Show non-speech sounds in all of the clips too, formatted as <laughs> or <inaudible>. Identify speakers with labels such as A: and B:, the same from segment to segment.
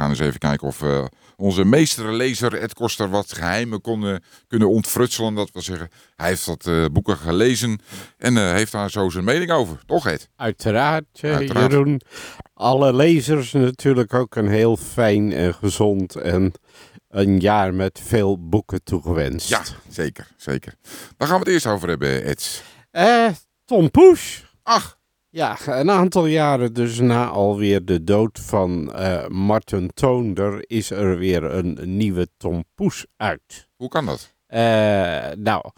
A: gaan eens even kijken of eh, onze meestere lezer Ed Koster wat geheimen konden kunnen ontfrutselen. Dat wil zeggen, hij heeft wat eh, boeken gelezen en eh, heeft daar zo zijn mening over. Toch Ed?
B: Uiteraard, eh,
A: Uiteraard.
B: Jeroen. Alle lezers natuurlijk ook een heel fijn en gezond en een jaar met veel boeken toegewenst.
A: Ja, zeker, zeker. Daar gaan we het eerst over hebben, Ed.
B: Eh, Tom Poes.
A: Ach,
B: Ja, een aantal jaren dus na alweer de dood van eh Martin Toonder is er weer een nieuwe Tom Poes uit.
A: hoe kan dat?
B: Eh, nou,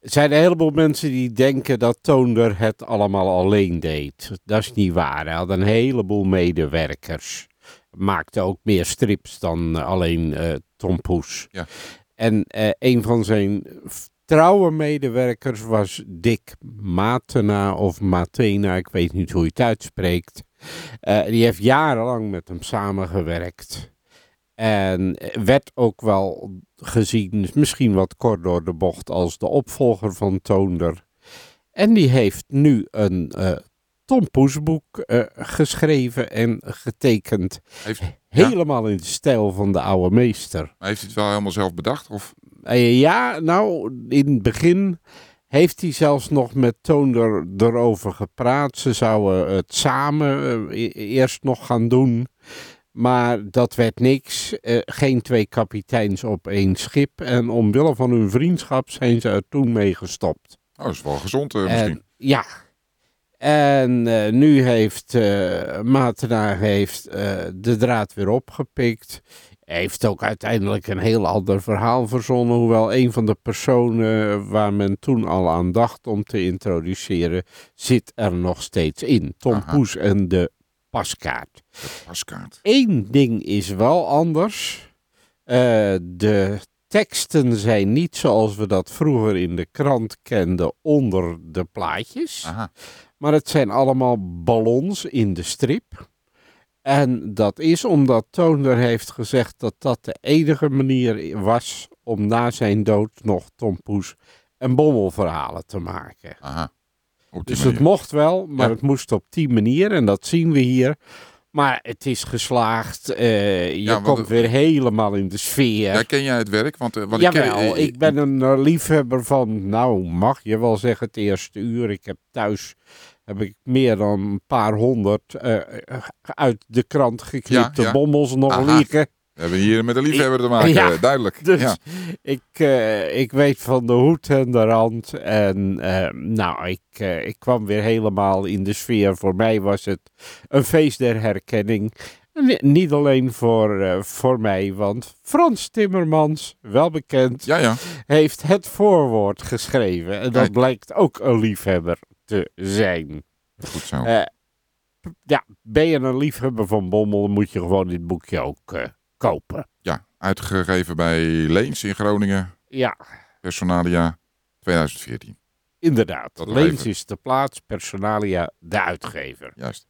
B: er zijn een heleboel mensen die denken dat Toonder het allemaal alleen deed. Dat is niet waar. Hij had een heleboel medewerkers. Maakte ook meer strips dan eh, alleen eh Tom Poes.
A: Ja.
B: En eh, een van zijn f- trouwe medewerkers was Dick Matena of Matena, ik weet niet hoe je het uitspreekt. Eh, die heeft jarenlang met hem samengewerkt. En eh, werd ook wel gezien, misschien wat kort door de bocht, als de opvolger van Toonder. En die heeft nu een eh Tom Poesboek eh, geschreven en getekend.
A: Heeft, ja,
B: Helemaal in de stijl van de oude meester.
A: heeft hij het wel helemaal zelf bedacht? Of?
B: Eh, ja, nou, in het begin heeft hij zelfs nog met Toonder erover gepraat. Ze zouden het samen eh, e- eerst nog gaan doen. Maar dat werd niks. Eh, geen twee kapiteins op één schip. En omwille van hun vriendschap zijn ze er toen mee gestopt.
A: Oh, dat is wel gezond eh,
B: En-
A: misschien.
B: ja. En eh, nu heeft eh Matena heeft, eh, de draad weer opgepikt. Heeft ook uiteindelijk een heel ander verhaal verzonnen. Hoewel een van de personen waar men toen al aan dacht om te introduceren, zit er nog steeds in. Tom
A: Aha.
B: Poes en de paskaart.
A: Paskaart.
B: Eén ding is wel anders. Eh, de teksten zijn niet zoals we dat vroeger in de krant kenden onder de plaatjes.
A: Aha.
B: Maar het zijn allemaal ballons in de strip. En dat is omdat Toonder heeft gezegd dat dat de enige manier was om na zijn dood nog Tom Poes en Bommelverhalen te maken.
A: Aha. Op die
B: Dus het
A: manier.
B: mocht wel, maar
A: Ja.
B: het moest op die manier en dat zien we hier. Maar het is geslaagd. eh, je
A: Ja, want
B: komt
A: het-
B: weer helemaal in de sfeer.
A: Ja, ken jij het werk? Want, eh, wat ik,
B: Jawel,
A: ken- eh,
B: ik ben een eh, liefhebber van, nou mag je wel zeggen, het eerste uur. Ik heb thuis heb ik meer dan een paar honderd eh, uit de krant geknipte
A: Ja, ja.
B: bommels nog
A: Aha.
B: liggen.
A: We hebben hier met een liefhebber te maken,
B: Ja.
A: eh, duidelijk.
B: <laughs> Dus
A: Ja.
B: ik, eh, ik weet van de hoed en de rand. En eh, nou, ik, eh, ik kwam weer helemaal in de sfeer. Voor mij was het een feest der herkenning. En ni- niet alleen voor, eh, voor mij, want Frans Timmermans, wel bekend,
A: ja, ja.
B: heeft het voorwoord geschreven. En dat
A: Kijk.
B: blijkt ook een liefhebber te zijn.
A: Goed zo.
B: Eh, p- ja, ben je een liefhebber van Bommel, dan moet je gewoon dit boekje ook eh, kopen.
A: Ja, uitgegeven bij Leens in Groningen,
B: Ja,
A: Personalia 2014.
B: Inderdaad.
A: Dat nog
B: Leens
A: even.
B: is de plaats, Personalia de uitgever.
A: Juist.